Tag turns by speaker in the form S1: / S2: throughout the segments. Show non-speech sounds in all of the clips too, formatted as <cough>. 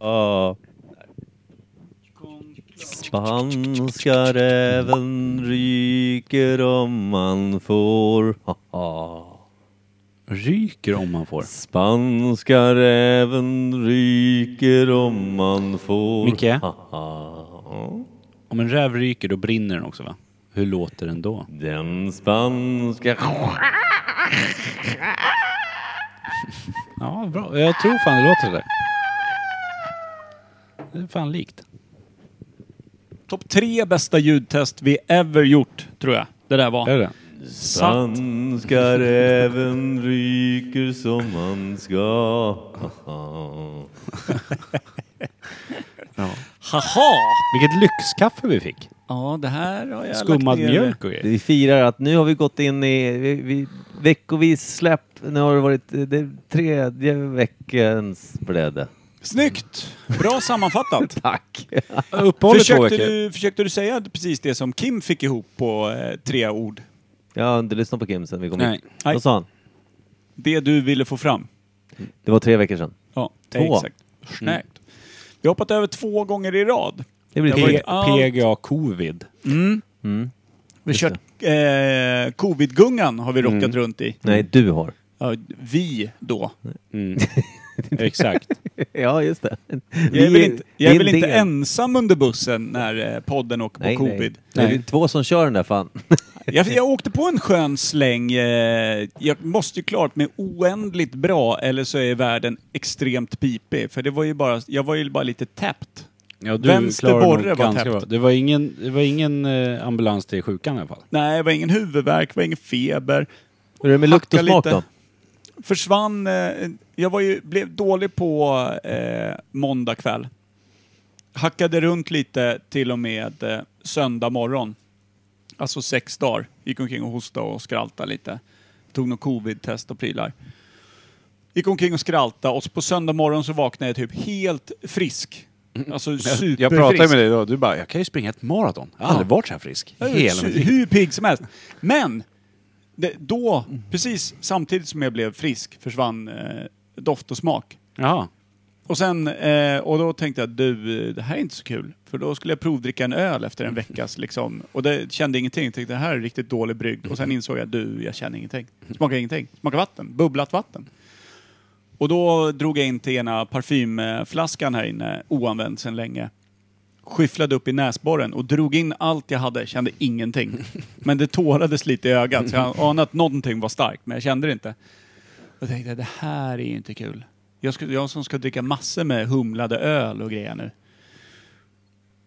S1: Ja. Spanska räven ryker om man får. Haha.
S2: Ryker om man får.
S1: Spanska räven ryker om man får.
S2: Micke?
S1: Haha.
S2: Om en räv ryker då brinner den också va? Hur låter den då?
S1: Den spanska...
S2: Ja, bra. Jag tror fan det låter sådär. Det är fan likt.
S3: Topp tre bästa ljudtest vi ever gjort, tror jag det där var.
S2: Är det
S3: Sant.
S1: Spanska räven ryker som man ska. Haha.
S3: Haha!
S2: Vilket lyxkaffe vi fick.
S3: Ja, det här har jag
S2: Skummad
S3: lagt ner.
S2: mjölk och grejer.
S4: Vi firar att nu har vi gått in i vi, vi, veckovis släpp. Nu har det varit eh, det tredje veckans bräde.
S3: Snyggt! Bra
S2: <laughs>
S3: sammanfattat.
S4: Tack!
S2: Uppehåll i två
S3: försökte,
S2: veckor.
S3: du, försökte du säga precis det som Kim fick ihop på eh, tre ord?
S4: Jag har inte lyssnat på Kim sen vi kom
S2: Nej.
S4: in.
S3: Nej.
S4: Vad sa han?
S3: Det du ville få fram?
S4: Det var tre veckor sedan.
S3: Ja,
S4: Två.
S3: exakt.
S2: Mm.
S3: Snyggt. Vi har hoppat över två gånger i rad.
S4: Det blir
S3: Det
S4: kul.
S3: var ju-
S2: P- PGA Covid.
S4: Mm.
S3: Vi har kört eh, covid-gungan har vi
S2: Mm.
S3: rockat runt i.
S4: Nej, du har.
S3: Ja, vi då.
S2: Mm. <laughs> Exakt.
S4: <laughs> Ja, just det.
S3: Jag är väl inte, jag är väl inte
S4: en.
S3: ensam under bussen när eh, podden åker på
S4: Nej, nej.
S3: covid.
S4: Nej. Det är två som kör den där fan.
S3: Jag, jag åkte på en skön släng. Eh, jag måste ju klart med oändligt bra eller så är världen extremt pipig. För det var ju bara, jag var ju bara lite täppt.
S2: Ja, du
S3: Vänster
S2: klarar
S3: borre
S2: nog
S3: var
S2: ganska
S3: täppt.
S2: bra. Det var ingen, det var ingen eh, ambulans till sjukan i alla fall.
S3: Nej, det var ingen huvudvärk, det var ingen feber.
S4: Hur är det med
S3: Hacka
S4: lukt och smak
S3: lite.
S4: då?
S3: Försvann... Eh, jag var ju, blev dålig på eh, måndag kväll. Hackade runt lite till och med eh, söndag morgon. Alltså sex dagar. Gick omkring och hostade och skraltade lite. Tog något covid-test och prylar. Gick omkring och skraltade och på söndag morgon så vaknade jag typ helt frisk. Alltså superfrisk.
S2: Mm. Jag pratade med dig då, du bara, jag kan ju springa ett maraton. Jag har aldrig varit så här frisk.
S3: Jag är
S2: Hela
S3: su-
S2: mitt liv.
S3: Hur pigg som helst. Men det, då, precis samtidigt som jag blev frisk, försvann eh, doft och smak.
S2: Jaha.
S3: Och, sen, eh, och då tänkte jag, du, eh, det här är inte så kul. För då skulle jag provdricka en öl efter en veckas liksom. Och det kände ingenting. Jag tänkte, det här är riktigt dålig brygd. Och sen insåg jag, du, jag känner ingenting. Smakar ingenting. Smakar vatten. Bubblat vatten. Och då drog jag in till ena parfymflaskan här inne, oanvänd sedan länge. Skyfflade upp i näsborren och drog in allt jag hade, kände ingenting. Men det tårades lite i ögat, så jag anade att någonting var starkt, men jag kände det inte. Och tänkte, det här är ju inte kul. Jag, ska, jag som ska dricka massor med humlade öl och grejer nu.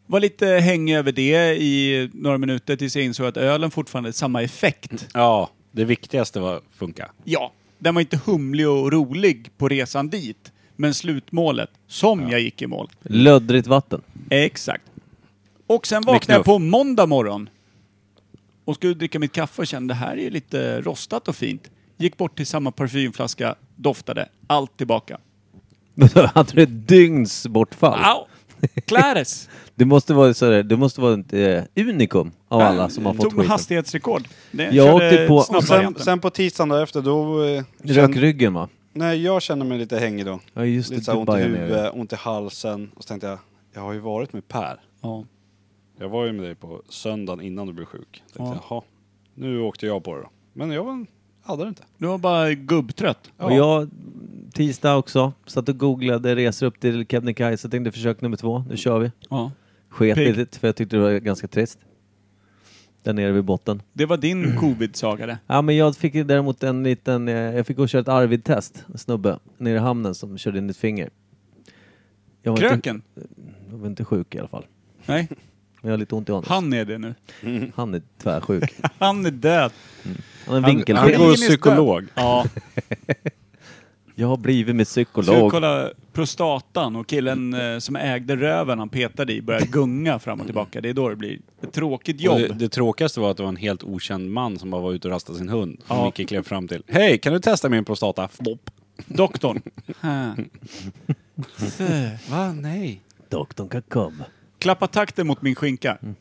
S3: Var lite hängig över det i några minuter tills jag insåg att ölen fortfarande hade samma effekt.
S2: Ja, det viktigaste var att funka.
S3: Ja, den var inte humlig och rolig på resan dit. Men slutmålet, som jag gick i mål.
S4: Löddrigt vatten. <laughs>
S3: Exakt. Och sen
S2: Med
S3: vaknade
S2: knuff.
S3: jag på måndag morgon. Och skulle dricka mitt kaffe och kände det här är ju lite rostat och fint. Gick bort till samma parfymflaska, doftade, allt tillbaka.
S4: Hade du ett dygns bortfall?
S3: Au! Clares!
S4: Du måste vara, sådär, du måste vara ett eh, unikum av alla som har fått
S3: Tog
S4: skiten.
S3: hastighetsrekord. Det-
S4: Jag åkte på-
S3: snabba
S5: Och sen,
S3: varianten.
S5: sen på tisdagen då efter, då... eh,
S4: Rök
S5: kände-
S4: ryggen va?
S5: Nej, jag känner mig lite hängig då.
S4: Ja just
S5: Lite
S4: det,
S5: så
S4: du
S5: här ont i
S4: bajade ner dig.
S5: huvudet, ont i halsen. Och så tänkte jag, jag har ju varit med Per.
S3: Ja.
S5: Jag var ju med dig på söndagen innan du blev sjuk. Tänkte,
S3: Ja.
S5: Jaha, nu åkte jag på det då. Men jag var, hade det inte.
S3: Du var bara gubbtrött.
S4: Och jag, tisdag också, satt och googlade resor upp till Kebnekaise. Jag tänkte försök nummer två, nu kör vi.
S3: Ja.
S4: Sket
S3: Pigg.
S4: lite för jag tyckte det var ganska trist. Där nere vid botten.
S3: Det var
S4: Mm.
S3: din covid-saga det.
S4: Ja men jag fick ju däremot en liten, eh, jag fick gå och köra ett Arvid-test, en snubbe, nere i hamnen som körde in ett finger. Jag var, inte,
S3: Kröken?
S4: jag var inte sjuk i alla fall.
S3: Nej,
S4: Men jag har lite ont i honom. Han,
S3: han är det nu.
S4: är tvärsjuk.
S3: Han är död.
S4: Han är en
S2: Han, han
S4: vinkelfel.
S2: går
S3: Ingen
S2: hos
S3: är
S2: psykolog.
S3: Ja.
S4: Jag har blivit med
S3: Skulle
S4: psykolog.
S3: kolla prostatan och killen eh, som ägde röven han petade i började gunga fram och tillbaka. Det är då det blir ett tråkigt
S2: Och
S3: jobb.
S2: Det, det tråkigaste var att det var en helt okänd man som bara var ute och rastade sin hund. Som Micke klev fram till. Hej, kan du testa min prostata? Flopp.
S4: <laughs>
S3: Doktorn. Ha. Så.
S2: Va? Nej.
S4: Doktorn kan komma.
S3: Klappa takten mot min skinka.
S4: Mm.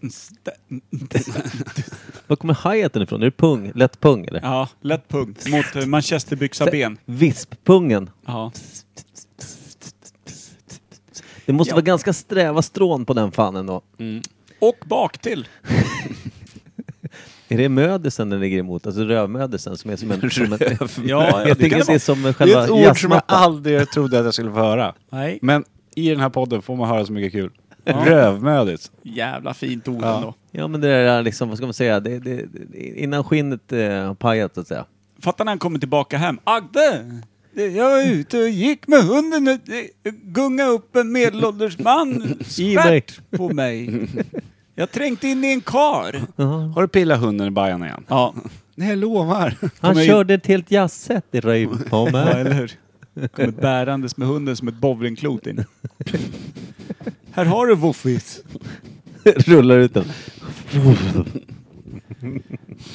S4: Var kommer hi-haten ifrån? Är det pung? Lätt pung eller?
S3: Ja, lätt punkt. Mot eh, manchesterbyxa ben.
S4: Visppungen.
S3: Ja.
S4: Det måste
S3: Ja.
S4: vara ganska sträva strån på den fan ändå.
S3: Och bak till.
S4: Är det mödesen den ligger emot? Alltså rövmödesen som är som en... Som en <laughs>
S2: Ja,
S4: jag tycker att det är som själva
S2: ett ord som jag
S4: jazzmattan.
S2: aldrig trodde att jag skulle få höra.
S3: Nej.
S2: Men i den här podden får man höra så mycket kul. Rövmödigt.
S3: Jävla fint ord
S2: Ja.
S3: ändå.
S4: Ja men det där liksom, vad ska man säga, det, det, det, innan skinnet eh, har pajat så att säga.
S3: Fattar när han kommer tillbaka hem. Agde! det- Jag var ute och gick med hunden och det gungade upp en medelålders man svärt på mig. Jag trängde in i en kar.
S2: Har du pillat hunden i bajan igen?
S3: Ja.
S2: Nej, jag lovar.
S4: Han
S2: Kommer in-
S4: körde ett helt jazzset i röj på
S3: ja,
S4: mig.
S3: eller hur? Kommer bärandes med hunden som ett bowlingklot in. Här har du Woffis.
S4: <laughs> Rullar ut den.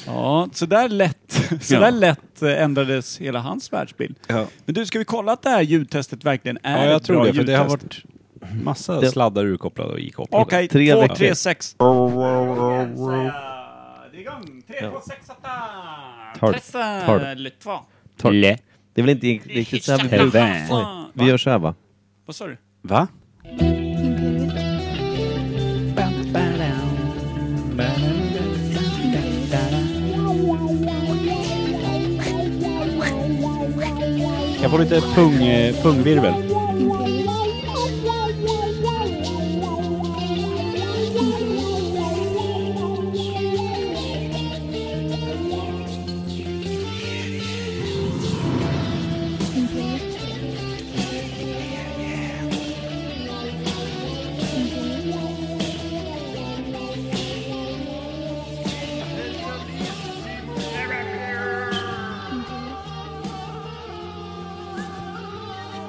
S3: Ja, så där lätt, <laughs> så där lätt eh, ändrades hela hans världsbild.
S2: Ja.
S3: Men du, ska vi kolla att det här ljudtestet verkligen är
S2: Ja, jag
S3: ett
S2: tror
S3: bra
S2: det. För det har
S3: ljudtest?
S2: varit massa
S4: Det-
S2: sladdar urkopplade och ikopplade.
S3: Okej,
S4: Tre
S3: två,
S4: veckor.
S3: tre, sex. Det är igång! Tre, två, sex,
S4: Tar-
S3: åtta!
S4: tar
S3: Pressa!
S4: det.
S3: Eller två.
S2: Le.
S4: Det är väl inte riktigt så här vi
S3: Hissa,
S4: brukar...
S2: brukar-
S4: Oj,
S3: hassa.
S4: vi gör så här va?
S3: Vad sa du?
S2: Va? Kan jag få lite pung, eh, pungvirvel?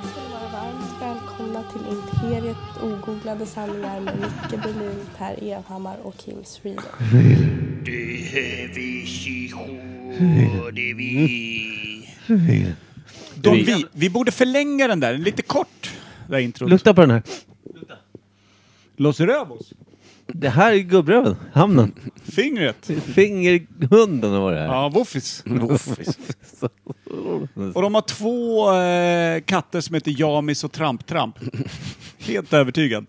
S6: ska ni vara varmt välkomna till Imperiet ogooglade sanningar med Micke Berlin, Per Evhammar och Kim Sweden.
S3: De, vi, vi borde förlänga den där, lite kort. Det där introt.
S4: Lukta på den här.
S3: Los Rövos.
S4: Det här är gubbröven, hamnen.
S3: Fingret.
S4: Fingerhunden var det här.
S3: Ja,
S4: <laughs>
S3: Woffis.
S4: Så-
S3: <laughs> Och de har två eh, katter som heter Jamis och
S4: <laughs>
S3: Tramp-Tramp. Helt övertygad.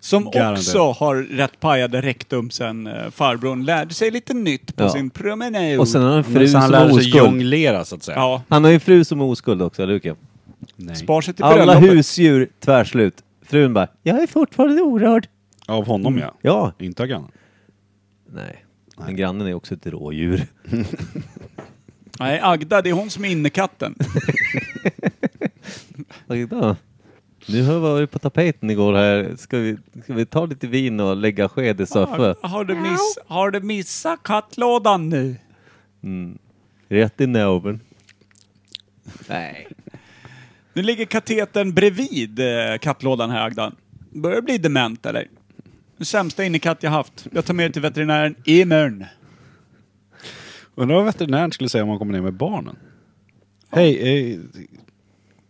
S3: Som
S2: Garanterat.
S3: också har rätt pajade rektum sen eh, farbrorn lärde sig lite nytt på
S4: Ja.
S3: sin promenad.
S4: Och sen har han en fru
S2: Men så han
S4: som
S2: lärde
S4: är
S2: sig
S4: oskuld.
S2: jonglera så att säga.
S3: Ja,
S4: Han har ju en fru som är oskuld också, eller hur Kim?
S2: Nej.
S3: spar sig till
S4: Alla
S3: bröllopet.
S4: husdjur tvärslut. Frun bara, jag är fortfarande orörd.
S2: Av honom ja.
S4: Ja.
S2: Inte av grannen.
S4: Nej. Men grannen är också ett rådjur. <laughs>
S3: Nej, Agda, det är hon som är innekatten.
S4: Agda, nu har vi varit på tapeten igår här. Ska vi, ska vi ta lite vin och lägga sked i soffan?
S3: har, du miss, har du missat kattlådan nu?
S4: Rätt i näven. Nej.
S3: Nu ligger katetern bredvid eh, kattlådan här Agda. Börjar bli dement eller? Den sämsta innekatt jag haft. Jag tar med dig till veterinären imorgon.
S2: Undrar vad veterinären skulle säga om han kommer ner med barnen. Hej, eh,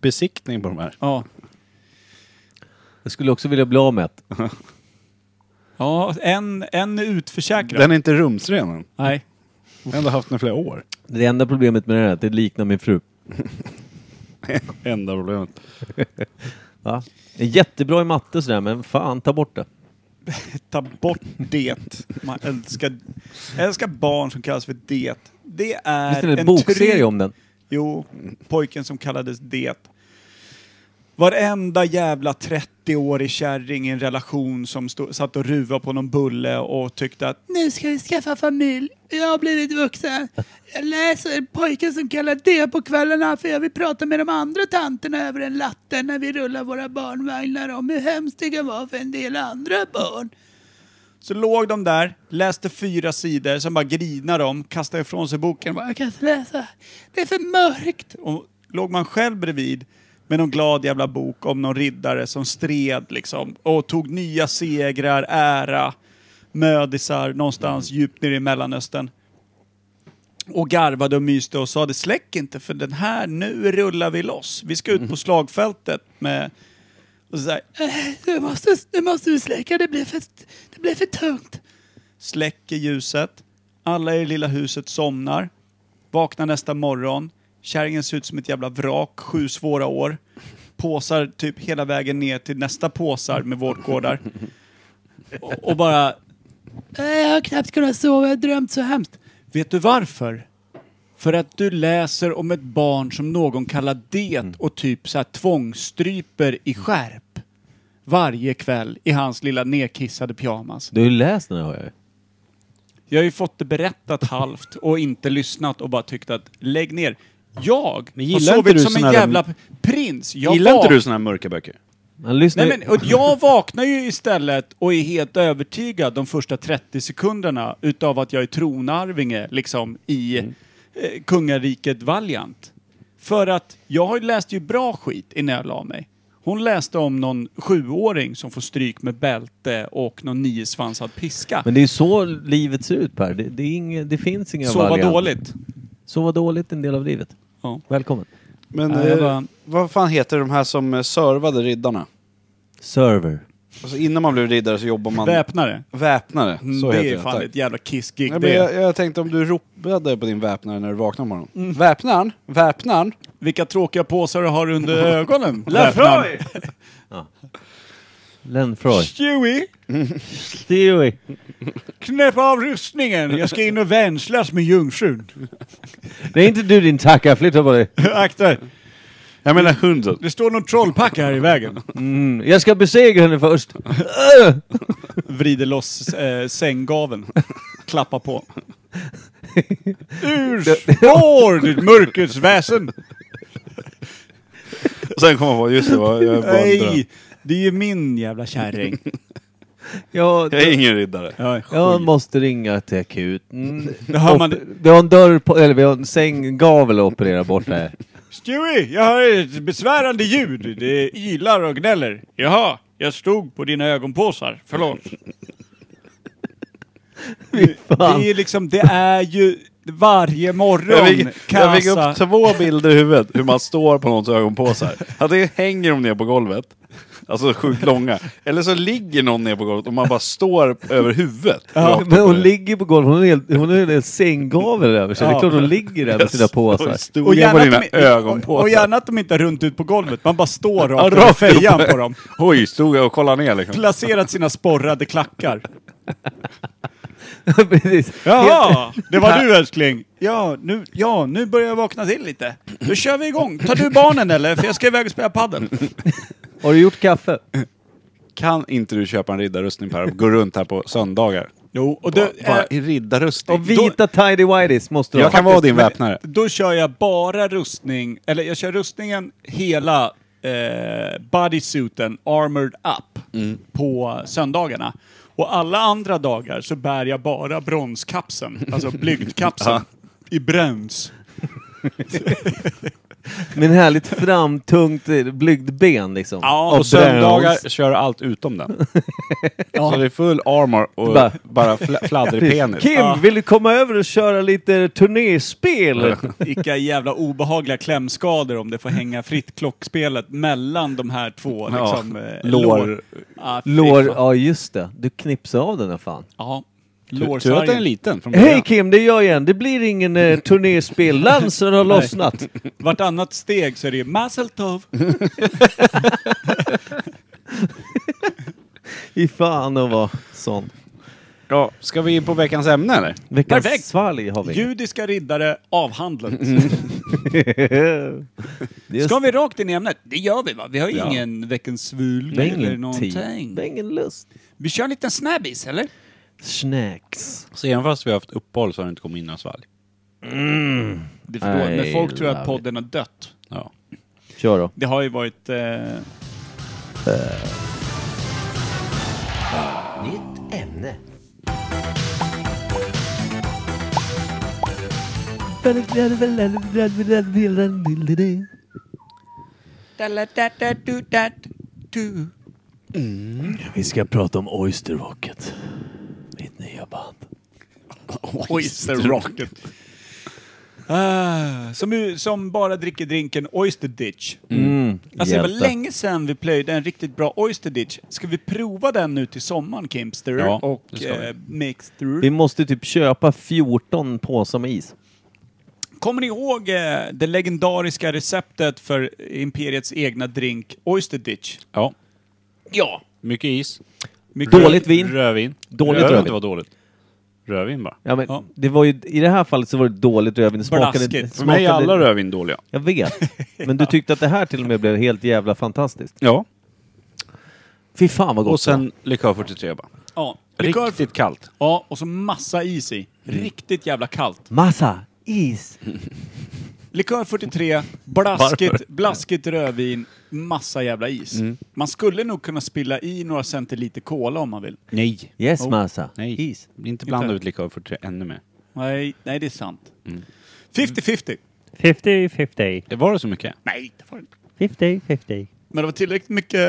S2: besiktning på de här.
S3: Ja.
S4: Jag skulle också vilja bli av med ett.
S3: Ja, en, en är utförsäkrad.
S2: Den är inte rumsren än.
S3: Nej.
S2: Jag har ändå haft den i flera år. <laughs>
S4: Det enda problemet med det här är att det liknar min fru.
S2: Enda problemet.
S4: Va? Det är jättebra i matte och sådär, men fan ta bort det.
S3: Ta bort det. Man älskar, älskar barn som kallas för det. Det är
S4: Visst är det en
S3: en
S4: bokserie
S3: trygg-
S4: om den?
S3: Jo, pojken som kallades Det. Varenda jävla 30-årig kärring i en relation som stod, satt och ruvade på någon bulle och tyckte att nu ska vi skaffa familj, jag har blivit vuxen. Jag läser pojken som kallar det på kvällarna för jag vill prata med de andra tanterna över en latte när vi rullar våra barnvagnar om hur hemskt det kan vara för en del andra barn. Så låg de där, läste fyra sidor, sen bara grinade de, kastade ifrån sig boken. Bara, jag kan inte läsa, det är för mörkt. Och låg man själv bredvid med någon glad jävla bok om någon riddare som stred liksom och tog nya segrar, ära, mödisar någonstans djupt nere i Mellanöstern. Och garvade och myste och sa det släck inte för den här, nu rullar vi loss. Vi ska ut på slagfältet med och så här, "Eh, nu måste, nu måste du släcka, det blir, för, det blir för tungt. Släcker ljuset. Alla i det lilla huset somnar. Vaknar nästa morgon. Kärringen ser ut som ett jävla vrak, sju svåra år. påsar typ hela vägen ner till nästa påsar med vårdgårdar. och, och bara... "Eh, Jag har knappt kunnat sova, jag har drömt så hemskt. Vet du varför? För att du läser om ett barn som någon kallar det och typ så här tvångsstryper i skärp. Varje kväll i hans lilla nedkissade pyjamas.
S4: Du har ju läst den här har jag ju.
S3: Jag har ju fått det berättat halvt och inte lyssnat och bara tyckt att lägg ner. Jag
S5: Men
S3: har
S5: gillar inte
S3: sovit
S5: du
S3: som
S5: såna
S3: en
S5: där-
S3: jävla prins. Jag
S5: Gillar inte
S3: vak-
S5: du såna här mörka böcker?
S4: Han lyssnar
S3: Nej,
S4: ju-
S5: Eh.
S3: men, och jag vaknar ju istället och är helt övertygad de första 30 sekunderna utav att jag är tronarvinge liksom i
S5: Mm.
S3: eh, kungariket Valiant. För att jag har ju läst ju bra skit innan jag la mig. Hon läste om någon sjuåring som får stryk med bälte och någon niosvansad piska.
S4: Men det är ju så livet ser ut Per. Det, det, är inget, det finns inga
S3: Sova
S4: varianter.
S3: dåligt.
S4: Sova dåligt är en del av livet.
S3: Ja.
S4: Välkommen.
S5: Men
S3: Nej, jag
S5: eh,
S3: bara-
S5: vad fan heter de här som eh, servade riddarna?
S4: Server.
S5: Alltså innan man blev riddare så jobbar man...
S3: Väpnare.
S5: Väpnare.
S3: Mm,
S5: Så
S3: det
S5: heter
S3: är
S5: det.
S3: fan
S5: Tack.
S3: ett jävla kissgig
S5: Nej, men
S3: det.
S5: jag, jag tänkte om du ropade på din väpnare när du vaknade på morgonen.
S3: Mm.
S5: Väpnaren? Väpnaren?
S3: Vilka tråkiga påsar du
S5: <laughs>
S3: har under ögonen. Lafroy!
S4: Lenfroy.
S3: Stewie!
S4: Stewie.
S3: Knäpp av rustningen! Jag ska in och vänslas med jungfrun. <laughs>
S4: Det är inte du din tacka, flytta på dig.
S3: Akta er.
S5: Jag menar hunden.
S3: Det står någon trollpacka här i vägen.
S4: Mm. Jag ska besegra henne först.
S3: <laughs> Vrider loss eh, sänggaveln. Klappa på. Ur spår, ditt mörkrets väsen!
S5: Och sen kom jag på, just det, var- jag är bara en dröm.
S3: Nej, det är ju min jävla kärring.
S4: Jag,
S5: Jag är ingen riddare.
S3: Ja,
S4: jag måste ringa till akuten.
S3: Det hör man-
S4: Op- Vi har en dörr på, eller vi har en sänggavel att operera bort här.
S3: Stewie, jag hör ett besvärande ljud. Det ylar och gnäller. Jaha, jag stod på dina ögonpåsar. Förlåt.
S4: fan.
S3: Det är liksom, det är ju varje morgon
S5: Jag fick, jag fick
S3: kassa.
S5: upp två bilder i huvudet hur man står på någons ögonpåsar. Antingen hänger de ner på golvet, alltså sjukt långa, eller så ligger någon ner på golvet och man bara står över huvudet.
S4: Ja,
S5: Rakt
S4: men
S5: upp i
S4: hon
S5: det.
S4: ligger på golvet, hon har en hel- hon har en hel sänggavel över sig. Det är
S3: Ja.
S4: klart hon ligger där med sina påsar.
S5: Jag står och på dina ögonpåsar.
S3: och gärna att de inte är runt ut på golvet. Man bara står
S5: Ja,
S3: rakt över
S5: rakt upp.
S3: fejan på dem.
S5: Oj, stod jag och kollade ner liksom.
S3: Placerat sina sporrade klackar.
S4: <laughs> Precis.
S3: Jaha, det var du älskling. Ja nu, ja, nu börjar jag vakna till lite. Då kör vi igång. Tar du barnen eller? För jag ska iväg och spela padel.
S4: Har du gjort kaffe?
S5: Kan inte du köpa en riddarrustning Per och gå runt här på söndagar?
S3: Jo, och
S5: Du,
S3: du,
S5: bara
S3: eh,
S5: i riddarrustning.
S4: Och vita tidy whities måste du
S5: jag
S4: ha.
S5: kan vara din väpnare.
S3: Då kör jag bara rustning, eller jag kör rustningen hela eh, bodysuiten, armored up,
S5: Mm.
S3: på söndagarna. Och alla andra dagar så bär jag bara bronskapseln,
S5: <laughs>
S3: alltså blygdkapseln, i brons.
S4: Med en härligt framtungt eh, blygt ben liksom.
S3: Ja,
S4: Av
S5: På söndagar
S4: browns.
S5: kör du allt utom <laughs> den. Så det är full armor och
S4: Bara-
S5: bara fla- <laughs> fladdrig penis.
S4: Kim, vill du komma över och köra lite turnéspel?
S3: Vilka jävla obehagliga klämskador om det får hänga fritt klockspelet mellan de här två.
S5: Ja,
S3: Liksom, eh,
S5: lår.
S3: Ja, fy
S4: Lår,
S3: fan.
S4: ja just det. Du knipsar av den här fan.
S3: Ja.
S5: Tur att den är
S3: Lårsargen.
S5: liten från början.
S4: Hej Kim, det är jag igen. Det blir ingen eh, turnéspel. Lansen har lossnat.
S3: Vartannat steg så är det ju mazel tov.
S4: Fy fan att vara sån.
S5: Ja, ska vi in på veckans ämne eller?
S4: Veckans
S3: Perfekt.
S4: svalg har vi.
S3: Judiska riddare avhandlat.
S4: Just
S3: Ska vi rakt in i ämnet? Det gör vi va? Vi har ju
S5: Ja.
S3: ingen veckans svul
S4: det är
S3: eller
S4: ingen tid.
S3: någonting.
S4: Det är ingen lust.
S3: Vi kör en liten snabbis eller?
S4: Snacks.
S5: Så även fast vi har haft uppehåll så har det inte kommit in några svalg.
S3: Det är då,
S4: I
S3: när folk tror
S4: love
S3: att podden har dött.
S5: Ja.
S4: Kör då.
S3: Det har ju varit... Eh,
S7: Nytt ämne.
S4: Vi ska prata om Oyster Rocket. Mitt nya band.
S3: Oyster Rocket. Ah, som, ju- som bara dricker drinken Oyster Ditch.
S4: Mm.
S3: Alltså det var
S4: hjälte.
S3: länge sedan vi plöjde en riktigt bra Oyster Ditch. Ska vi prova den nu till sommaren, Kimster?
S5: Ja, det
S3: och
S5: ska vi.
S3: eh, Mixter?
S4: Vi måste typ köpa 14 påsar med is.
S3: Kommer ni ihåg eh, det legendariska receptet för Imperiets egna drink Oyster Ditch?
S5: Ja. Mycket is.
S3: Mycket-
S4: Dåligt vin.
S5: Rödvin.
S4: Dåligt
S5: jag vet
S4: rödvin.
S5: inte vad dåligt. Rödvin bara.
S4: Ja, men
S3: Ja.
S4: Det var ju, I det här fallet så var det dåligt rödvin. Det Smakade,
S3: Blaskigt.
S5: För mig är
S4: smakade-
S5: alla rödvin dåliga.
S4: Jag vet. Men du tyckte att det här till och med blev helt jävla fantastiskt.
S5: Ja.
S4: Fy fan vad gott
S5: Och sen likör 43 bara.
S3: Ja. Likör,
S5: Riktigt Mm. kallt.
S3: ja, och så massa is i. Riktigt jävla kallt.
S4: det var. Massa is.
S3: Likör 43, blaskigt, blaskigt rödvin, massa jävla is.
S5: Mm.
S3: Man skulle nog kunna spilla i några centiliter cola om man vill.
S5: Nej.
S4: Yes massa.
S5: Oh. Nej.
S4: Is.
S5: Inte blanda
S3: Inte.
S5: ut likör 43 ännu mer.
S3: Nej, nej det är sant.
S5: Mm.
S3: 50-50.
S8: 50, 50.
S5: Det var det så mycket?
S3: Nej, det var det inte.
S8: 50, 50.
S3: Men det var tillräckligt mycket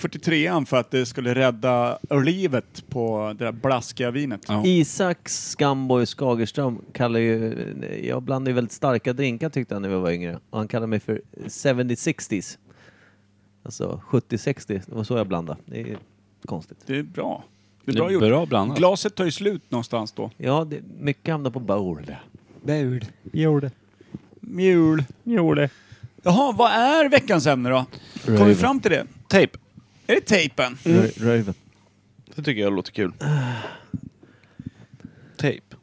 S3: 43an för att det skulle rädda livet på det där blaskiga vinet.
S5: Ja.
S4: Isak Skamborg Skagerström kallar ju... Jag blandade ju väldigt starka drinkar tyckte han när jag var yngre. Och han kallade mig för 70-60s. Alltså 70-60. Det var så jag blandade. Det är konstigt.
S3: Det är bra. Det är
S5: Det
S3: bra
S5: är
S3: gjort.
S5: bra blandat.
S3: Glaset tar ju slut någonstans då.
S4: Ja, det, mycket hamnar på bowl.
S8: Bud. Gjorde.
S3: Mjul.
S8: Gjorde.
S3: Jaha, vad är veckans ämne då? Kom vi fram till det?
S5: Tejp.
S3: Är det tejpen?
S5: Mm.
S4: Röven.
S2: Det tycker jag
S5: <sighs>
S2: låter kul. Tejp.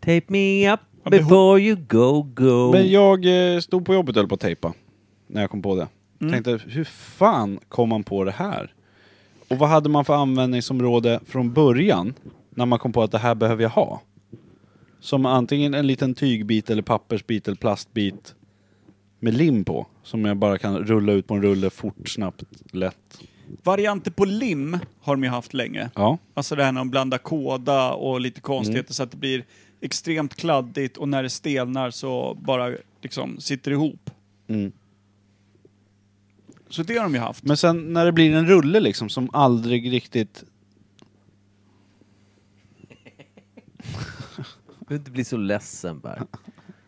S4: Tape me up
S3: Ja, behov-
S4: before you go, go.
S5: Men jag eh, stod på jobbet och höll på att tejpa. När jag kom på det. Tänkte, hur fan kom man på det här? Och vad hade man för användningsområde från början? När man kom på att det här behöver jag ha. Som antingen en liten tygbit eller pappersbit eller plastbit. Med lim på. Som jag bara kan rulla ut på en rulle fort, snabbt, lätt.
S3: Varianter på lim har de ju haft länge.
S5: Ja. Mm.
S3: Alltså det här när de blandar kåda och lite konstigheter så att det blir extremt kladdigt och när det stelnar så bara liksom sitter ihop.
S5: Mm.
S3: Så det har de ju haft.
S5: Men sen när det blir en rulle liksom som aldrig riktigt...
S4: Du behöver inte bli så ledsen bara.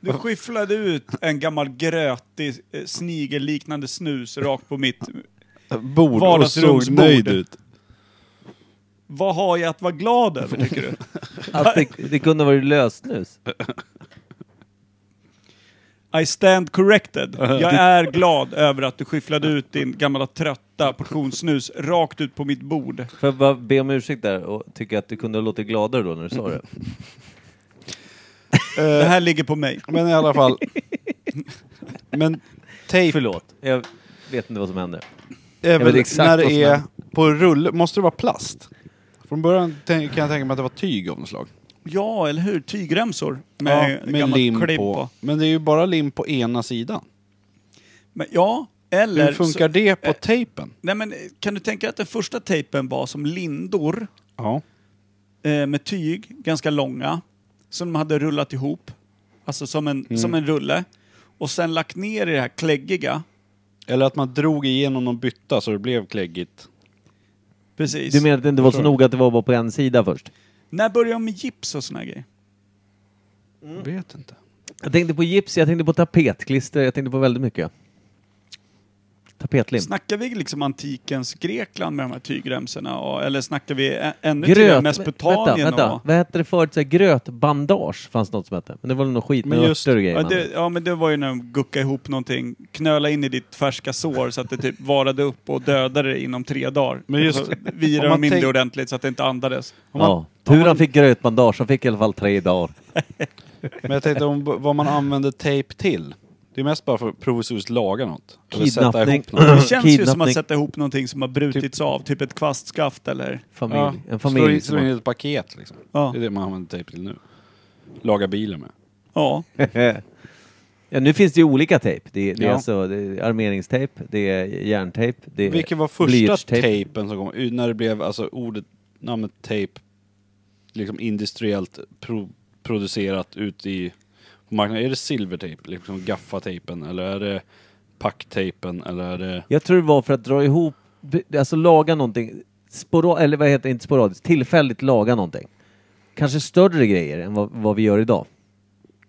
S3: Du skyfflade ut en gammal grötig eh, snigelliknande snus rakt på mitt...
S5: Bord och såg
S3: Vardagsrumsbord.
S5: nöjd ut.
S3: Vad har jag att vara glad över tycker <laughs> du?
S4: Att det, det kunde varit lösnus.
S3: I stand corrected. Jag är glad över att du skyfflade ut din gamla trötta portionssnus rakt ut på mitt bord.
S4: Får jag bara be om ursäkt där och tycker att du kunde ha låtit gladare då när du sa det.
S3: Det här ligger på mig.
S5: Men i
S4: <laughs>
S5: alla fall. Men tejp,
S4: Förlåt, jag vet inte vad som hände.
S5: är
S4: vet
S5: väl
S4: exakt
S5: när
S4: vad
S5: det
S4: som
S5: är
S4: händer.
S5: på rulle, måste det vara plast? Från början tän- kan jag tänka mig att det var tyg av något slag.
S3: Ja, eller hur? Tygremsor med,
S5: ja, med
S3: gammalt
S5: lim
S3: klipp
S5: på. Men det är ju bara lim på ena sidan.
S3: Men, ja, eller...
S5: Hur funkar
S3: så,
S5: det på tejpen?
S3: Nej, men, eh, kan du tänka dig att den första tejpen var som lindor
S5: Ja.
S3: eh, med tyg, ganska långa, som de hade rullat ihop, alltså som en, som en rulle, och sen lagt ner i det här kläggiga.
S5: Eller att man drog igenom någon bytta så det blev kläggigt.
S3: Precis.
S4: Du menar att det inte var så noga att det var bara på en sida först?
S3: När började de med gips och såna här grejer?
S4: Mm.
S5: Vet inte.
S4: Jag tänkte på gips, jag tänkte på tapetklister, jag tänkte på väldigt mycket. Tapetlim.
S3: Snackar vi liksom antikens Grekland med de här tygremsorna? Och, eller snackar vi ä- ännu tidigare
S4: Gröt, vänta,
S3: Mesopotamien?
S4: vänta.
S3: Och,
S4: Vad hette det förut? Så här, grötbandage fanns något som hette. Men det var väl något skit med
S5: Men just-
S4: örter och grejer.
S3: ja,
S4: man
S3: det, ja, men det var ju när de guckade ihop någonting, knöla in i ditt färska sår så att det typ varade upp och dödade det inom tre dagar.
S5: Men just-
S3: Och så
S5: om
S3: virade
S5: man
S3: de in
S5: tänk-
S3: det ordentligt så att det
S4: <clears throat>
S3: inte andades.
S4: ja. Tur han fick grötbandage, han fick i alla fall tre dagar.
S5: Men jag tänkte om b- vad man använder tejp till. Det är mest bara för att provisoriskt laga något. Eller sätta
S4: Kidnappning.
S5: ihop något.
S3: Det känns ju som att
S4: Kidnappning.
S3: sätta ihop någonting som har brutits av, typ ett kvastskaft eller...
S4: Familj.
S5: Ja.
S4: En
S5: Slå
S4: familj.
S5: in,
S4: som
S5: slå in i ett paket liksom.
S3: Ja.
S5: Det är det man använder tejp till nu. Laga bilen med.
S4: Eh,
S3: Ja.
S4: <laughs> Ja, nu finns det ju olika tejp. Det, det är
S5: Ja.
S4: alltså det är armeringstejp, det är järntejp, det är
S5: Vilken var första
S4: blyertstejp.
S5: tejpen som kom? När det blev alltså ordet, namnet tejp, liksom industriellt pro, producerat ut i på marknaden. Är det silvertejp, liksom gaffatejpen eller är det packtejpen eller är det...
S4: Jag tror det var för att dra ihop, alltså laga någonting, spora, eller vad heter det, inte sporadiskt, tillfälligt laga någonting. Kanske större grejer än vad, vad vi gör idag.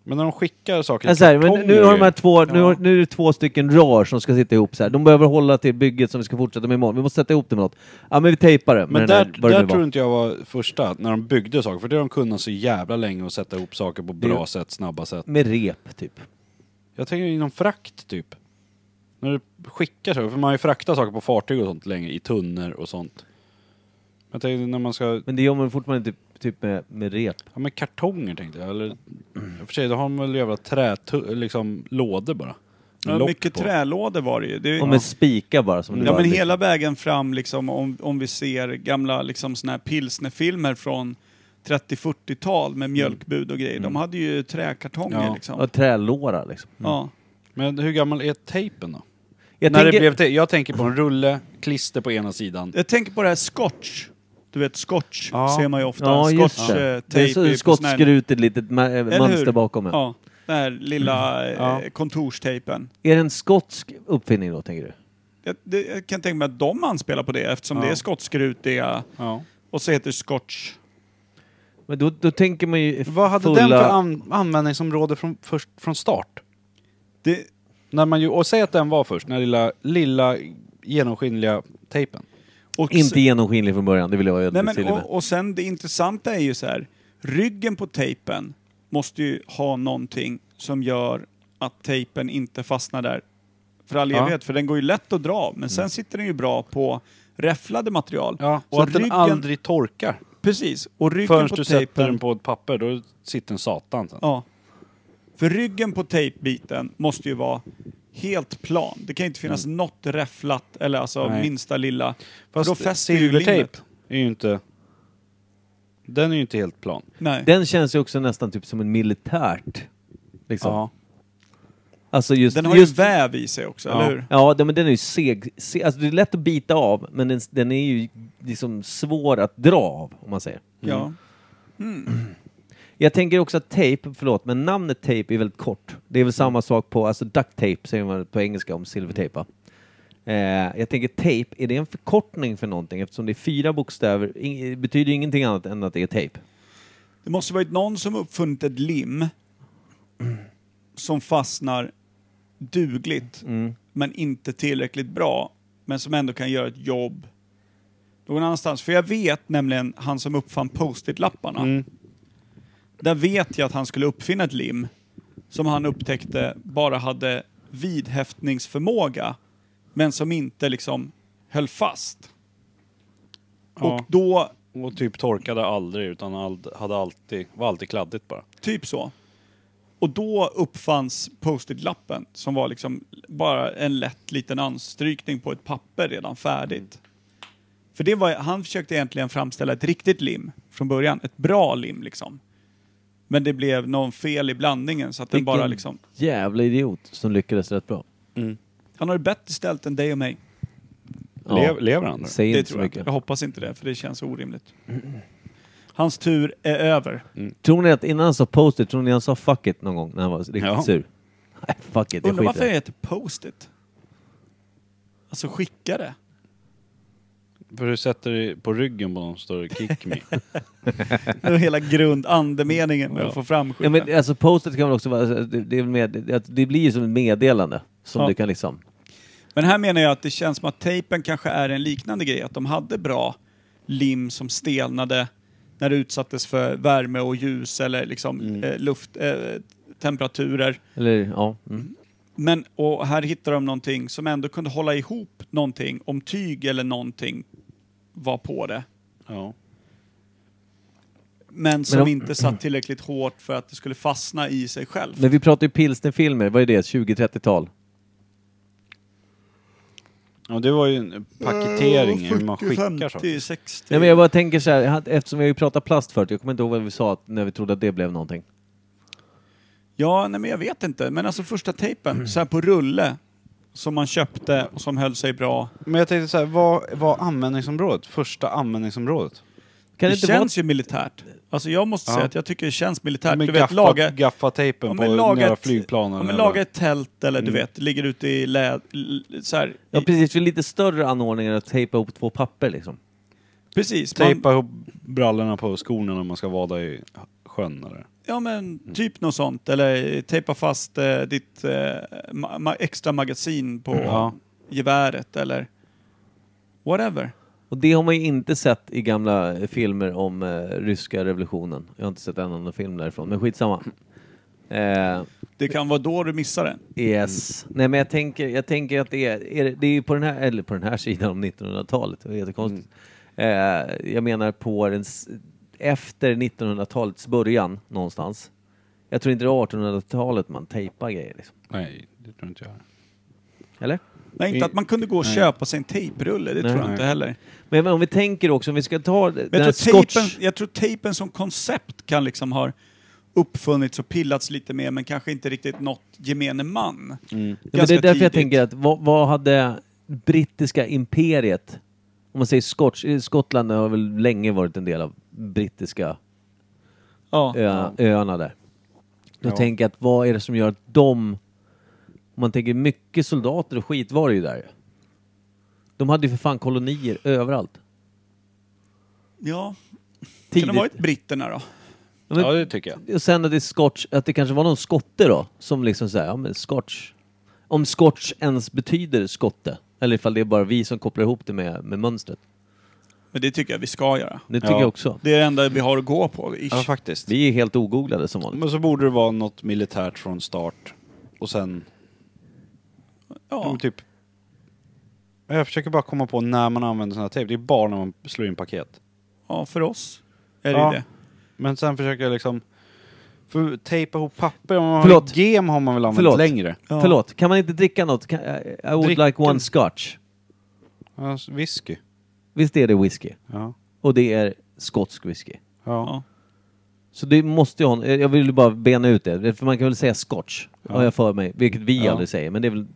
S5: Men när de skickar saker
S4: Alltså här, men nu har de här två, nu,
S3: Ja.
S4: har, nu är det två stycken rör som ska sitta ihop så här. De behöver hålla till bygget som vi ska fortsätta med imorgon. Vi måste sätta ihop det med något. Ja men vi tejpar det med
S5: men
S4: den
S5: där,
S4: här, vad det
S5: där
S4: nu
S5: tror
S4: var.
S5: inte jag var första, när de byggde saker. För det har de kunnat så jävla länge och sätta ihop saker på bra
S4: Det-
S5: sätt, snabba sätt.
S4: Med rep typ.
S5: Jag tänker inom frakt typ. När du skickar saker, för man har ju fraktat saker på fartyg och sånt länge, i tunnor och sånt. Jag tänkte när man ska,
S4: Men det gör man fortfarande typ, typ med, med rep.
S5: ja men kartonger tänkte jag. Eller, i och för sig, då har de väl jävla trä, liksom lådor bara.
S3: Ja,
S5: Lock
S3: mycket
S5: på.
S3: trälådor var det ju. Det, är-
S4: Och med spikar bara. Som du
S3: Ja
S4: bara
S3: men hela vägen fram liksom om, om vi ser gamla liksom såna här pilsnerfilmer från 30-40-tal med mjölkbud och grejer. De hade ju träkartonger
S5: Ja.
S3: liksom.
S4: Mm. Ja, trälåra liksom.
S3: Ja.
S5: Men hur gammal är tejpen då?
S4: Jag
S5: när
S4: tänker-
S5: det blev te- jag tänker på en rulle, klister på ena sidan.
S3: Jag tänker på det här scotch. Du vet scotch
S5: Ja.
S3: ser man ju ofta.
S4: Ja, just
S3: scotch,
S4: det.
S3: eh,
S4: Det är så
S3: tape på sån här-
S4: skottskrutet litet ma- eh,
S3: Eller
S4: mönster
S3: hur?
S4: bakom. Mm. Ja.
S3: Ja, den här lilla eh,
S5: Ja.
S3: kontorstejpen.
S4: Är det en skotsk uppfinning då, tänker du?
S3: Jag, det, jag kan tänka mig att de anspelar på det eftersom det är skotskrutiga
S5: Ja.
S3: och så heter det scotch.
S4: Men då, då tänker man ju
S5: Vad hade
S4: fulla...
S5: den för an- användningsområde från, först, från start?
S3: Det,
S5: När man ju, och säg att den var först, den här lilla, lilla genomskinliga tejpen.
S3: och
S4: Inte genomskinlig från början, det vill jag vara
S3: Nej,
S4: ödmjuk
S3: men,
S4: till med.
S3: och, och sen det intressanta är ju så här, ryggen på tejpen måste ju ha någonting som gör att tejpen inte fastnar där för all
S5: Ja. Mm.
S3: evighet, för den går ju lätt att dra, men sen sitter den ju bra på räfflade material.
S5: Ja, och
S3: Så
S5: att den aldrig torkar.
S3: Precis, och ryggen
S5: Förrän
S3: på
S5: du sätter
S3: tejpen...
S5: den på ett papper, då sitter den satan sen.
S3: Ja. För ryggen på tejpbiten måste ju vara helt plan. Det kan ju inte finnas något räfflat eller alltså
S5: Mm. Nej.
S3: minsta lilla.
S5: Fast
S3: för då fäster ju
S5: silvertejp
S3: limmet.
S5: är ju inte... Den är ju inte helt plan.
S3: Nej.
S4: Den känns ju också nästan typ som en militärt. Liksom.
S5: Ja.
S4: Alltså just...
S3: Den har
S4: just...
S3: ju väv i sig också, eller hur?
S4: Ja, den- men den är ju seg. seg alltså det är lätt att bita av, men den, den är ju liksom svår att dra av, om man säger.
S3: Ja.
S4: Jag tänker också att tape, förlåt, men namnet tape är väldigt kort. Det är väl
S3: Mm.
S4: samma sak på, alltså duct tape säger man på engelska om silvertejp va? eh, Jag tänker tape, är det en förkortning för någonting eftersom det är fyra bokstäver, ing- det betyder ju ingenting annat än att det är tape.
S3: Det måste varit någon som uppfunnit ett lim som fastnar dugligt men inte tillräckligt bra men som ändå kan göra ett jobb någon annanstans. För jag vet nämligen han som uppfann post-it-lapparna. Där vet jag att han skulle uppfinna ett lim som han upptäckte bara hade vidhäftningsförmåga men som inte liksom höll fast. Och då,
S5: Och typ torkade aldrig, utan all, hade alltid, var alltid kladdigt bara.
S3: Typ så. Och då uppfanns post-it-lappen som var liksom bara en lätt liten anstrykning på ett papper redan färdigt. För det var, han försökte egentligen framställa ett riktigt lim från början, ett bra lim liksom. Men det blev någon fel i blandningen så att den bara
S4: Vilken
S3: liksom...
S4: Jävla idiot som lyckades rätt bra.
S3: Han har det bättre ställt än dig och mig.
S4: Ja.
S5: Lev, lever han? då?
S4: Säg
S3: Det
S4: inte så
S3: tror jag.
S4: mycket.
S3: Jag hoppas inte det, för det känns orimligt. Hans tur är
S4: Mm,
S3: över.
S4: Tror ni att innan han sa post-it, tror ni han sa fuck it någon gång när han var riktigt
S5: Ja.
S4: sur? <laughs> Nej, fuck it, jag
S3: Undrar
S4: skiter
S3: varför
S4: i
S3: det
S4: det.
S3: heter post-it? Alltså skicka det.
S5: För du sätter det på ryggen på någon står det kick me.
S3: Det var hela grundandemeningen med att få fram
S4: Ja,
S3: skiten.
S4: men alltså post-it kan väl också vara, alltså, det, det, är väl med, det, det blir ju som ett meddelande som
S3: Ja.
S4: du kan liksom
S3: Men här menar jag att det känns som att tejpen kanske är en liknande grej. Att de hade bra lim som stelnade när det utsattes för värme och ljus eller liksom
S4: Mm.
S3: eh, lufttemperaturer. Eh, temperaturer.
S4: Eller ja. Mm.
S3: men och här hittar de någonting som ändå kunde hålla ihop någonting om tyg eller någonting var på det.
S5: <laughs> Ja.
S3: Men som
S4: om-
S3: inte satt tillräckligt hårt för att det skulle fastna i sig själv.
S4: Men vi pratar ju pilsnerfilmer, vad är det? 20-30-tal?
S5: ja, det var ju en paketering, hur man skickar
S3: 50,
S5: saker.
S3: 60.
S4: Nej men jag bara tänker så här, jag hade- eftersom vi har ju pratat plast förut, jag kommer inte ihåg vad vi sa att- när vi trodde att det blev någonting.
S3: Ja, nej men jag vet inte. Men alltså första tejpen,
S5: Mm.
S3: så här på rulle, som man köpte och som höll sig bra.
S5: Men jag tänkte så här, vad var användningsområdet? Första användningsområdet?
S4: Kan det,
S3: det
S4: inte
S3: känns ju militärt. Alltså jag måste säga att jag tycker det känns militärt.
S5: Med
S3: Äh, du vet,
S5: gaffa,
S3: laga,
S5: gaffatejpen
S3: om
S5: på
S3: en laga
S5: några
S3: ett-
S5: flygplan
S3: om
S5: eller Mm.
S3: man lagar ett tält eller du vet, ligger ute i lä... l- Så här,
S4: vara... Ja
S3: i-
S4: precis, för lite större anordningar att tejpa ihop två papper liksom.
S3: precis. Man,
S5: Tejpa ihop brallorna på skorna när man ska vada i sjön eller?
S3: ja men typ något sånt. Eller tejpa fast eh, ditt eh, ma- ma- extra magasin på
S5: Mm. Ja.
S3: geväret eller whatever.
S4: Och det har man ju inte sett i gamla eh, filmer om eh, ryska revolutionen. Jag har inte sett en annan film därifrån, men skitsamma. Eh,
S3: Det kan vara då du missar den.
S4: Yes. Mm. Nej men jag tänker, jag tänker att det är, är det, det är ju på den här, eller på den här sidan om 1900-talet, det är jättekonstigt. Eh, jag menar på den, s- efter 1900-talets början någonstans. Jag tror inte det är 1800-talet man tejpar grejer liksom.
S5: Nej, det tror inte jag.
S4: Eller?
S3: Nej, inte att man kunde gå och köpa sig en tejprulle, det
S4: Nej.
S3: tror jag inte heller.
S4: Men om vi tänker också, om vi ska ta den
S3: Men
S4: här
S3: jag, tror
S4: skotsk...
S3: tejpen, jag tror tejpen som koncept kan liksom ha uppfunnits och pillats lite med men kanske inte riktigt nått gemene man.
S4: Mm. Ja, men det är
S3: Ganska
S4: därför jag
S3: tidigt.
S4: tänker att vad, vad hade brittiska imperiet, om man säger Skots, eh, Skottland har väl länge varit en del av brittiska
S3: Ja.
S4: ö, öarna där. Då tänker jag att vad är det som gör att de, om man tänker mycket soldater och skit var det ju där De hade ju för fan kolonier överallt.
S3: ja. Kan det ha
S4: Tidigt.
S3: varit britterna då?
S4: Ja, men-
S5: det tycker jag.
S4: Och sen att det, är Scotch, att det kanske var någon skotte då, som liksom säger, ja men Scotch. Om Scotch ens betyder skotte, eller ifall det är bara vi som kopplar ihop det med, med mönstret.
S3: Men det tycker jag vi ska göra.
S4: Det tycker
S5: Ja.
S4: jag också.
S3: Det är det enda vi har att gå på. Ish.
S5: Ja, faktiskt.
S4: Vi är helt ogooglade som vanligt.
S5: Men så borde det vara något militärt från start. Och sen, ja.
S3: Ja.
S5: men typ... Jag försöker bara komma på när man använder sån här tejp. Det är bara när man slår in paket.
S3: ja, för oss är det
S5: Ja.
S3: ju det.
S5: Men sen försöker jag liksom... För tejpa ihop papper, om man
S4: Förlåt.
S5: har gem har man väl använt
S4: Förlåt.
S5: längre?
S3: Ja.
S4: Förlåt, kan man inte dricka något? Kan, I, I would
S5: Dricka-
S4: like one scotch.
S5: Ja, s- whisky.
S4: Visst är det whisky?
S5: Ja.
S4: Och det är skotsk whisky.
S5: Ja.
S3: Ja.
S4: Så det måste ju ha... en- Jag vill bara bena ut det, för man kan väl säga scotch, har jag för mig. Vilket vi
S5: Ja.
S4: aldrig säger, men det är väl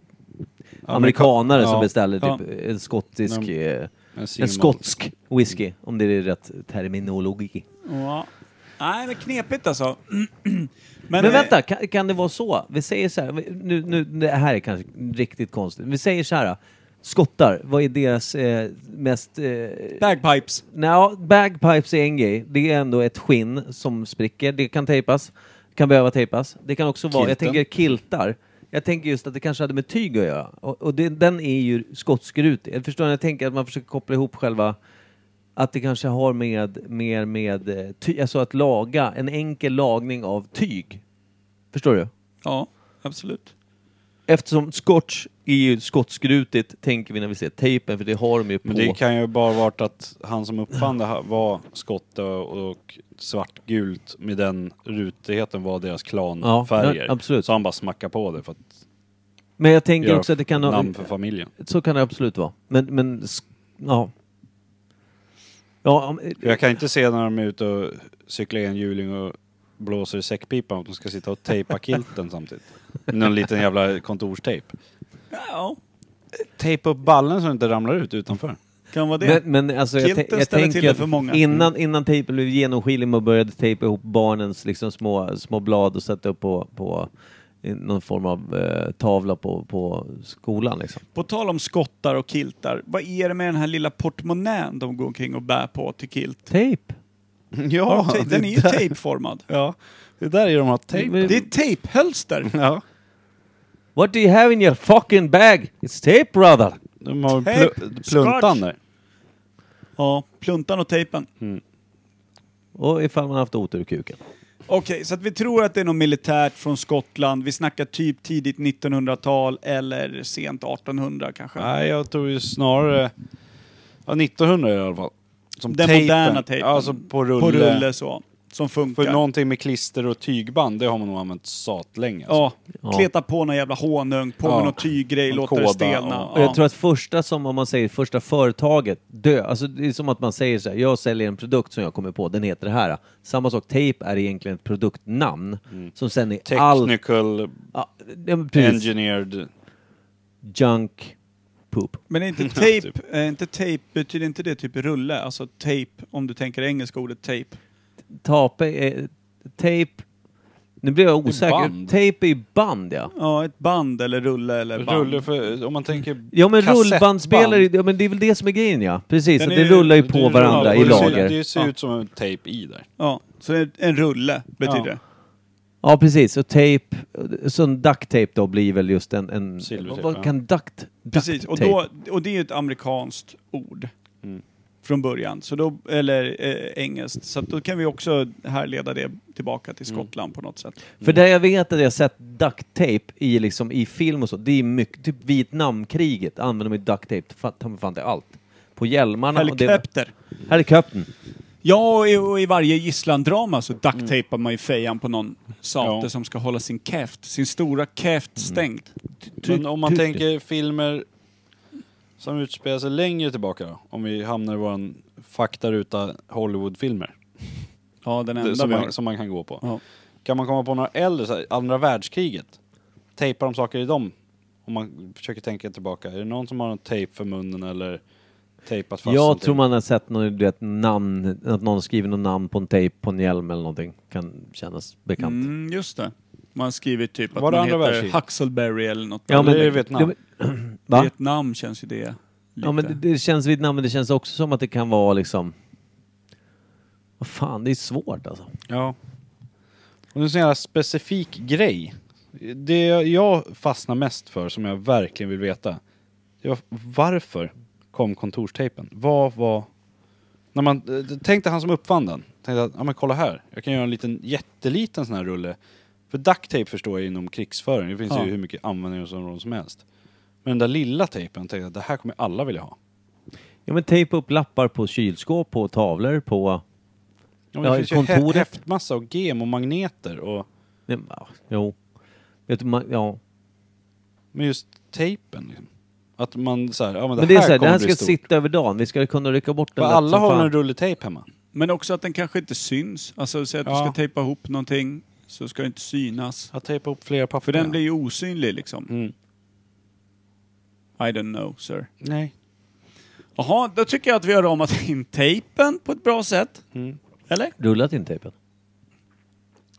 S4: amerikanare som
S5: ja.
S4: beställer typ
S3: Ja.
S4: en skottisk...
S5: Nej,
S4: eh, En
S5: single
S4: skotsk whisky, om det är rätt terminologi.
S3: Ja. Nej, men knepigt alltså. <clears throat>
S4: Men,
S3: eh,
S4: vänta, kan, kan det vara så? Vi säger så här, vi- nu, nu, det här är kanske riktigt konstigt. Vi säger så här, skottar, vad är deras eh, mest... Eh,
S3: Bagpipes.
S4: Nja, bagpipes är en grej. Det är ändå ett skinn som spricker. Det kan tejpas. Kan behöva tejpas. Det kan också vara, jag
S5: Kilten.
S4: tänker kiltar. Jag tänker just att det kanske hade med tyg att göra. Och, och det, den är ju skotskrutig. Jag förstår när jag tänker att man försöker koppla ihop själva att det kanske har med, mer med eh, ty, alltså att laga, en enkel lagning av tyg. Förstår du?
S3: Ja, absolut.
S4: Eftersom scotch är ju skotskrutigt, tänker vi när vi ser tejpen, för det har de ju på.
S5: Men det kan ju bara varit att han som uppfann det här var skotte och svartgult med den rutigheten var deras klanfärger.
S4: Ja, absolut.
S5: Så han bara smackade på det för att
S4: Men jag tänker
S5: göra
S4: också att det kan ha...
S5: namn för familjen.
S4: Så kan det absolut vara. Men, men s- ja. Ja, om,
S5: För jag kan inte se när de är ute och cyklar enhjuling och blåser i säckpipan att de ska sitta
S4: <laughs>
S5: och tejpa kilten samtidigt. Med Någon liten jävla kontorstejp.
S3: Ja,
S5: Tejpa upp ballen så den inte ramlar ut utanför.
S3: kan vara det.
S4: men, men alltså jag,
S3: Kilten
S4: tän- jag
S3: ställer till det
S4: tänker
S3: för många. Mm.
S4: att innan, innan tejpen blev genomskinlig man började tejpa ihop barnens liksom små, små blad och sätta upp på, på i någon form av eh, tavla på, på skolan liksom.
S3: På tal om skottar och kiltar, vad är det med den här lilla portmonnän de går omkring och bär på till kilt?
S4: Tejp?
S3: Har de
S5: <laughs> Ja,
S3: tejp? den är ju tejpformad.
S5: ja, det är där är de har tejp.
S4: Men-
S3: Det är tejphölster!
S5: Ja.
S4: What do you have in your fucking bag? It's tape brother!
S5: De har
S3: Tejp,
S5: pl- pluntan
S3: scotch.
S5: där.
S3: Ja, pluntan och tejpen.
S5: Mm.
S4: Och ifall man haft otur i kuken.
S3: Okej, så att vi tror att det är något militärt från Skottland. Vi snackar typ tidigt 1900-tal eller sent 1800 kanske.
S5: Nej, jag tror ju snarare... Ja, 1900 i alla fall. Som
S3: Den
S5: tejpen.
S3: moderna tejpen.
S5: Alltså på rulle.
S3: På rulle så. Som funkar.
S5: För någonting med klister och tygband, det har man nog använt satlänge. Alltså.
S3: Ja,
S4: Ja.
S3: kleta på någon jävla honung, på med
S5: Ja.
S3: någon tyggrej,
S5: En
S3: låter det
S5: kåda
S3: stelna.
S5: och-
S4: Och
S3: Ja.
S4: jag tror att första som, om man säger första företaget, dö. Alltså det är som att man säger så här, jag säljer en produkt som jag kommer på, den heter det här. Samma sak, tejp är egentligen ett produktnamn som sen är allt...
S5: Technical,
S4: Ja, ja, men precis.
S5: engineered...
S4: Junk poop.
S3: Men är
S5: <laughs>
S3: inte
S5: Ja, typ.
S3: tejp, är inte tejp, betyder inte det typ rulle? Alltså tejp, om du tänker det engelska ordet tejp.
S4: Tape är... Tejp... Nu blir jag osäker.
S5: band.
S4: Tejp är ju band ja.
S3: Ja, ett band eller rulle eller band.
S5: Rulle för, om man tänker...
S4: Ja men
S5: kassettband.
S4: rullbandspelare, ja, men det är väl det som är grejen ja. Precis,
S3: Den
S4: att
S3: är
S4: det
S3: ju-
S4: rullar ju
S3: det
S4: på
S3: rullar
S4: varandra
S3: på.
S4: i
S5: Och det ser-
S4: lager.
S5: Det ser
S3: Ja.
S5: ut som en tejp i där.
S3: Ja, så en- en rulle betyder
S5: Ja.
S3: det.
S4: Ja precis, och tejp, så en duct tape då blir väl just en... en
S5: Silvertejp,
S4: vad
S5: ja.
S4: kan duct, duct
S3: Precis, och,
S4: tape?
S5: Mm.
S3: då, och det är ju ett amerikanskt ord. från början, så då, eller eh, engelskt. Så att då kan vi också härleda det tillbaka till
S5: Mm.
S3: Skottland på något sätt.
S4: För där jag vet att jag sett duct tape i, liksom, i film och så, det är mycket, typ Vietnamkriget använder de duct tape, fan- ta mig fan till allt. På hjälmarna. och det-
S3: Helikopter.
S4: Helikoptern.
S3: Ja, och i, och i varje gisslandrama så
S5: Mm.
S3: ducktejpar man ju fejan på någon sate
S2: Ja.
S3: som ska hålla sin käft, sin stora käft stängd.
S5: Mm.
S2: Men om man tänker filmer som utspelar sig längre tillbaka då? Om vi hamnar i våran faktaruta Hollywoodfilmer.
S3: Ja, den
S2: Det-
S3: enda
S2: Som
S3: vi har.
S2: man, som man kan gå på.
S3: Ja.
S2: Kan man komma på några äldre, så här, andra världskriget? Tejpar de saker i dem? Om man försöker tänka tillbaka. Är det någon som har en tejp för munnen eller tejpat fast
S4: Jag
S2: någonting?
S4: tror man har sett någon, du vet, namn, att någon skriver något namn på en tejp på en hjälm eller någonting. Kan kännas bekant.
S3: Mm, just det. Man har skrivit typ att
S2: Var det
S3: man
S2: andra
S3: heter
S2: världskriget?
S3: Huxelberry eller något.
S4: Ja,
S2: Eller
S4: men-
S2: är det Vietnam?
S4: <clears throat> Va?
S3: Vietnam känns ju det. Lite.
S4: Ja men det, det känns Vietnam, men det känns också som att det kan vara liksom... Vad fan, det är svårt alltså.
S2: Ja.
S5: Och det är en sån jävla specifik grej. Det jag fastnar mest för, som jag verkligen vill veta, det var varför kom kontorstejpen? Vad var... När man, eh, tänk dig han som uppfann den. Tänkte att, ja men kolla här, jag kan göra en liten jätteliten sån här rulle. För duct tape förstår jag inom krigsföring, det finns
S3: Ja.
S5: ju hur mycket användningsområden som helst. Men den där lilla tejpen, tänkte jag, det här kommer alla vilja ha.
S4: Ja men tejpa upp lappar på kylskåp, på tavlor, på...
S5: Ja, men
S4: Ja,
S5: det finns ju
S4: kontoret.
S5: hä- häftmassa och gem och magneter och...
S4: Nej, men, ja, jo. Vet du, man, ja.
S5: Men just tejpen liksom. Att man så här, ja men det,
S4: Men det är
S5: här
S4: så här, det
S5: kommer
S4: här
S5: bli
S4: ska
S5: stort.
S4: sitta över dagen. Vi ska kunna rycka bort
S5: För
S4: den lätt
S5: alla
S4: som
S5: har
S4: fan.
S5: en rulle tejp hemma.
S3: Men också att den kanske inte syns. Alltså, säg att
S5: Ja.
S3: du ska tejpa ihop någonting så ska det inte synas.
S5: Att tejpa upp flera papper.
S3: För den blir ju osynlig liksom.
S5: Mm.
S3: I don't know, sir.
S5: Nej.
S3: Jaha, då tycker jag att vi har ramat in tejpen på ett bra sätt.
S5: Mm.
S3: Eller?
S4: Rullat in tejpen.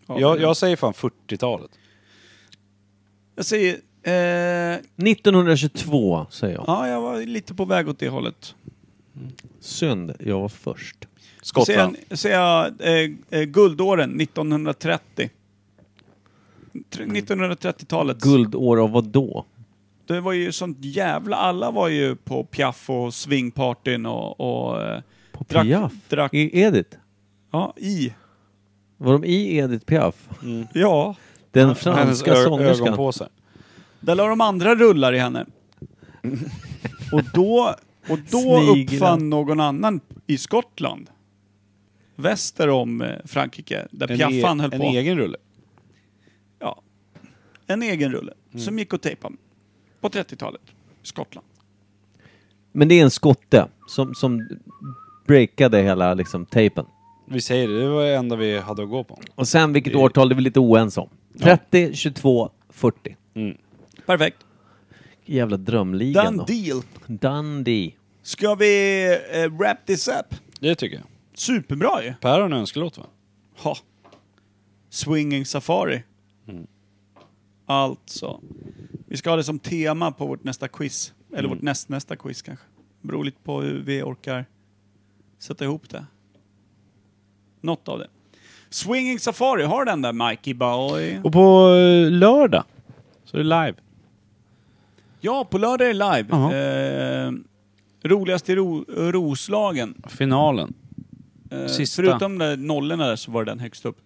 S5: Jag, jag säger fan 40-talet.
S3: jag säger... Eh,
S4: 1922 säger jag.
S3: ja, jag var lite på väg åt det hållet.
S4: Synd, jag var först.
S3: Då säger
S5: Skottland.
S3: jag- säger jag eh, eh, guldåren 1930. Tr-
S5: Mm.
S3: 1930-talet.
S4: Guldår av vad då?
S3: Det var ju sånt jävla... Alla var ju på piaff och swingpartyn och... och eh,
S4: På
S3: Drack-
S4: Piaf?
S3: drack-
S4: I Edith?
S3: ja, i.
S4: Var de i Edith Piaf?
S3: Ja.
S4: Den
S5: Hennes
S4: franska
S5: ö-
S4: sångerskan?
S5: ögonpåsar.
S3: Där la de andra rullar
S5: <laughs>
S3: i henne. Och då, och då
S4: Sniglar.
S3: uppfann någon annan i Skottland, väster om eh, Frankrike, där
S5: En, e
S3: piaffan höll
S5: en
S3: på,
S5: egen rulle.
S3: ja, en egen rulle som gick att tejpa på 30-talet. Skottland.
S4: Men det är en skotte som, som breakade hela liksom, tejpen.
S5: Vi säger det, det var det enda vi hade att gå på.
S4: Och sen vilket årtal, det är vi lite oense om. 30, 22, 40.
S3: Perfekt.
S4: Jävla drömligan
S3: Done
S4: då.
S3: deal.
S4: Dundee.
S3: Ska vi eh, wrap this up?
S5: Det tycker jag.
S3: Superbra ju.
S5: Per har en önskelåt va?
S3: Ha. Swinging Safari. Alltså. Vi ska ha det som tema på vårt nästa quiz. Eller vårt nästnästa quiz kanske. Beror lite på hur vi orkar sätta ihop det. Något av det. Swinging Safari, har den där Mikey Boy?
S5: Och på eh, lördag så är det live.
S3: Ja, på lördag är det live.
S5: Jaha.
S3: Eh, roligast i ro, Roslagen.
S5: Finalen.
S3: Eh,
S5: Sista.
S3: Förutom de där nollorna där så var det den högst upp.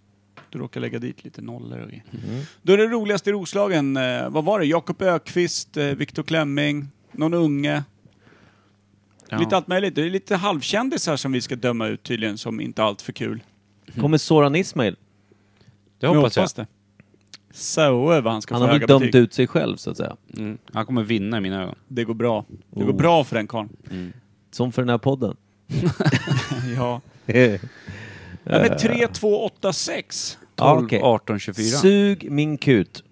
S3: Du råkar lägga dit lite nollor och grejer. Då är det roligaste i Roslagen, eh, vad var det? Jakob Ökvist, eh, Viktor Klemming, någon unge. Lite allt möjligt. Det är lite halvkändisar som vi ska döma ut tydligen som inte allt för kul.
S4: Kommer Soran Ismail?
S5: Det
S3: Men
S5: hoppas jag.
S3: det. Så vad han ska
S4: Han
S3: få
S4: har väl
S3: höga
S4: dömt
S3: betyg.
S4: ut sig själv så att säga.
S5: Mm. Han kommer vinna i mina ögon.
S3: Det går bra. Det går
S4: Oh.
S3: bra för den karln.
S4: Som för den här
S3: <laughs>
S4: podden.
S3: Ja. ja men 3286.
S4: Ja,
S5: 12,
S4: okej.
S5: 18, 24.
S4: Sug min kut.